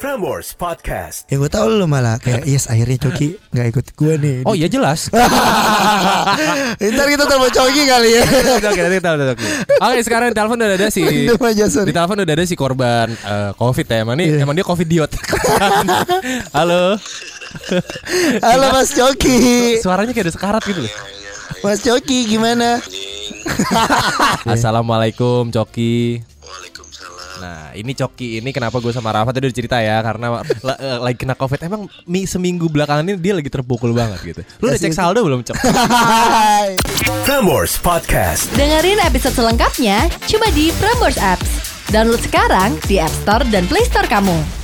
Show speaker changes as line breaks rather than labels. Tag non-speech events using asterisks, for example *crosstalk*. Prambors Podcast.
Ya gue tau lu malah kayak yes akhirnya Coki nggak ikut gue nih.
Oh iya jelas.
*laughs* Ntar kita telepon Coki kali ya.
*laughs* Oke, oke, nanti kita- nanti kita- Oke, sekarang di telepon udah ada si
Bendem aja
di
sorry.
telepon udah ada si korban eh, covid ya emang nih
Iya.
emang dia covid *laughs* diot halo
Halo Mas Coki.
suaranya kayak ada sekarat gitu loh
Mas Coki gimana?
Iya. assalamualaikum coki
Waalaikumsalam.
nah ini coki ini kenapa gue sama Rafa tadi udah cerita ya karena la- eh, lagi kena covid emang mi- seminggu belakangan ini dia lagi terpukul banget gitu lu udah cek saldo belum cok
Hai.
Prambors Podcast.
Dengerin episode selengkapnya cuma di Prambors Apps. Download sekarang di App Store dan Play Store kamu.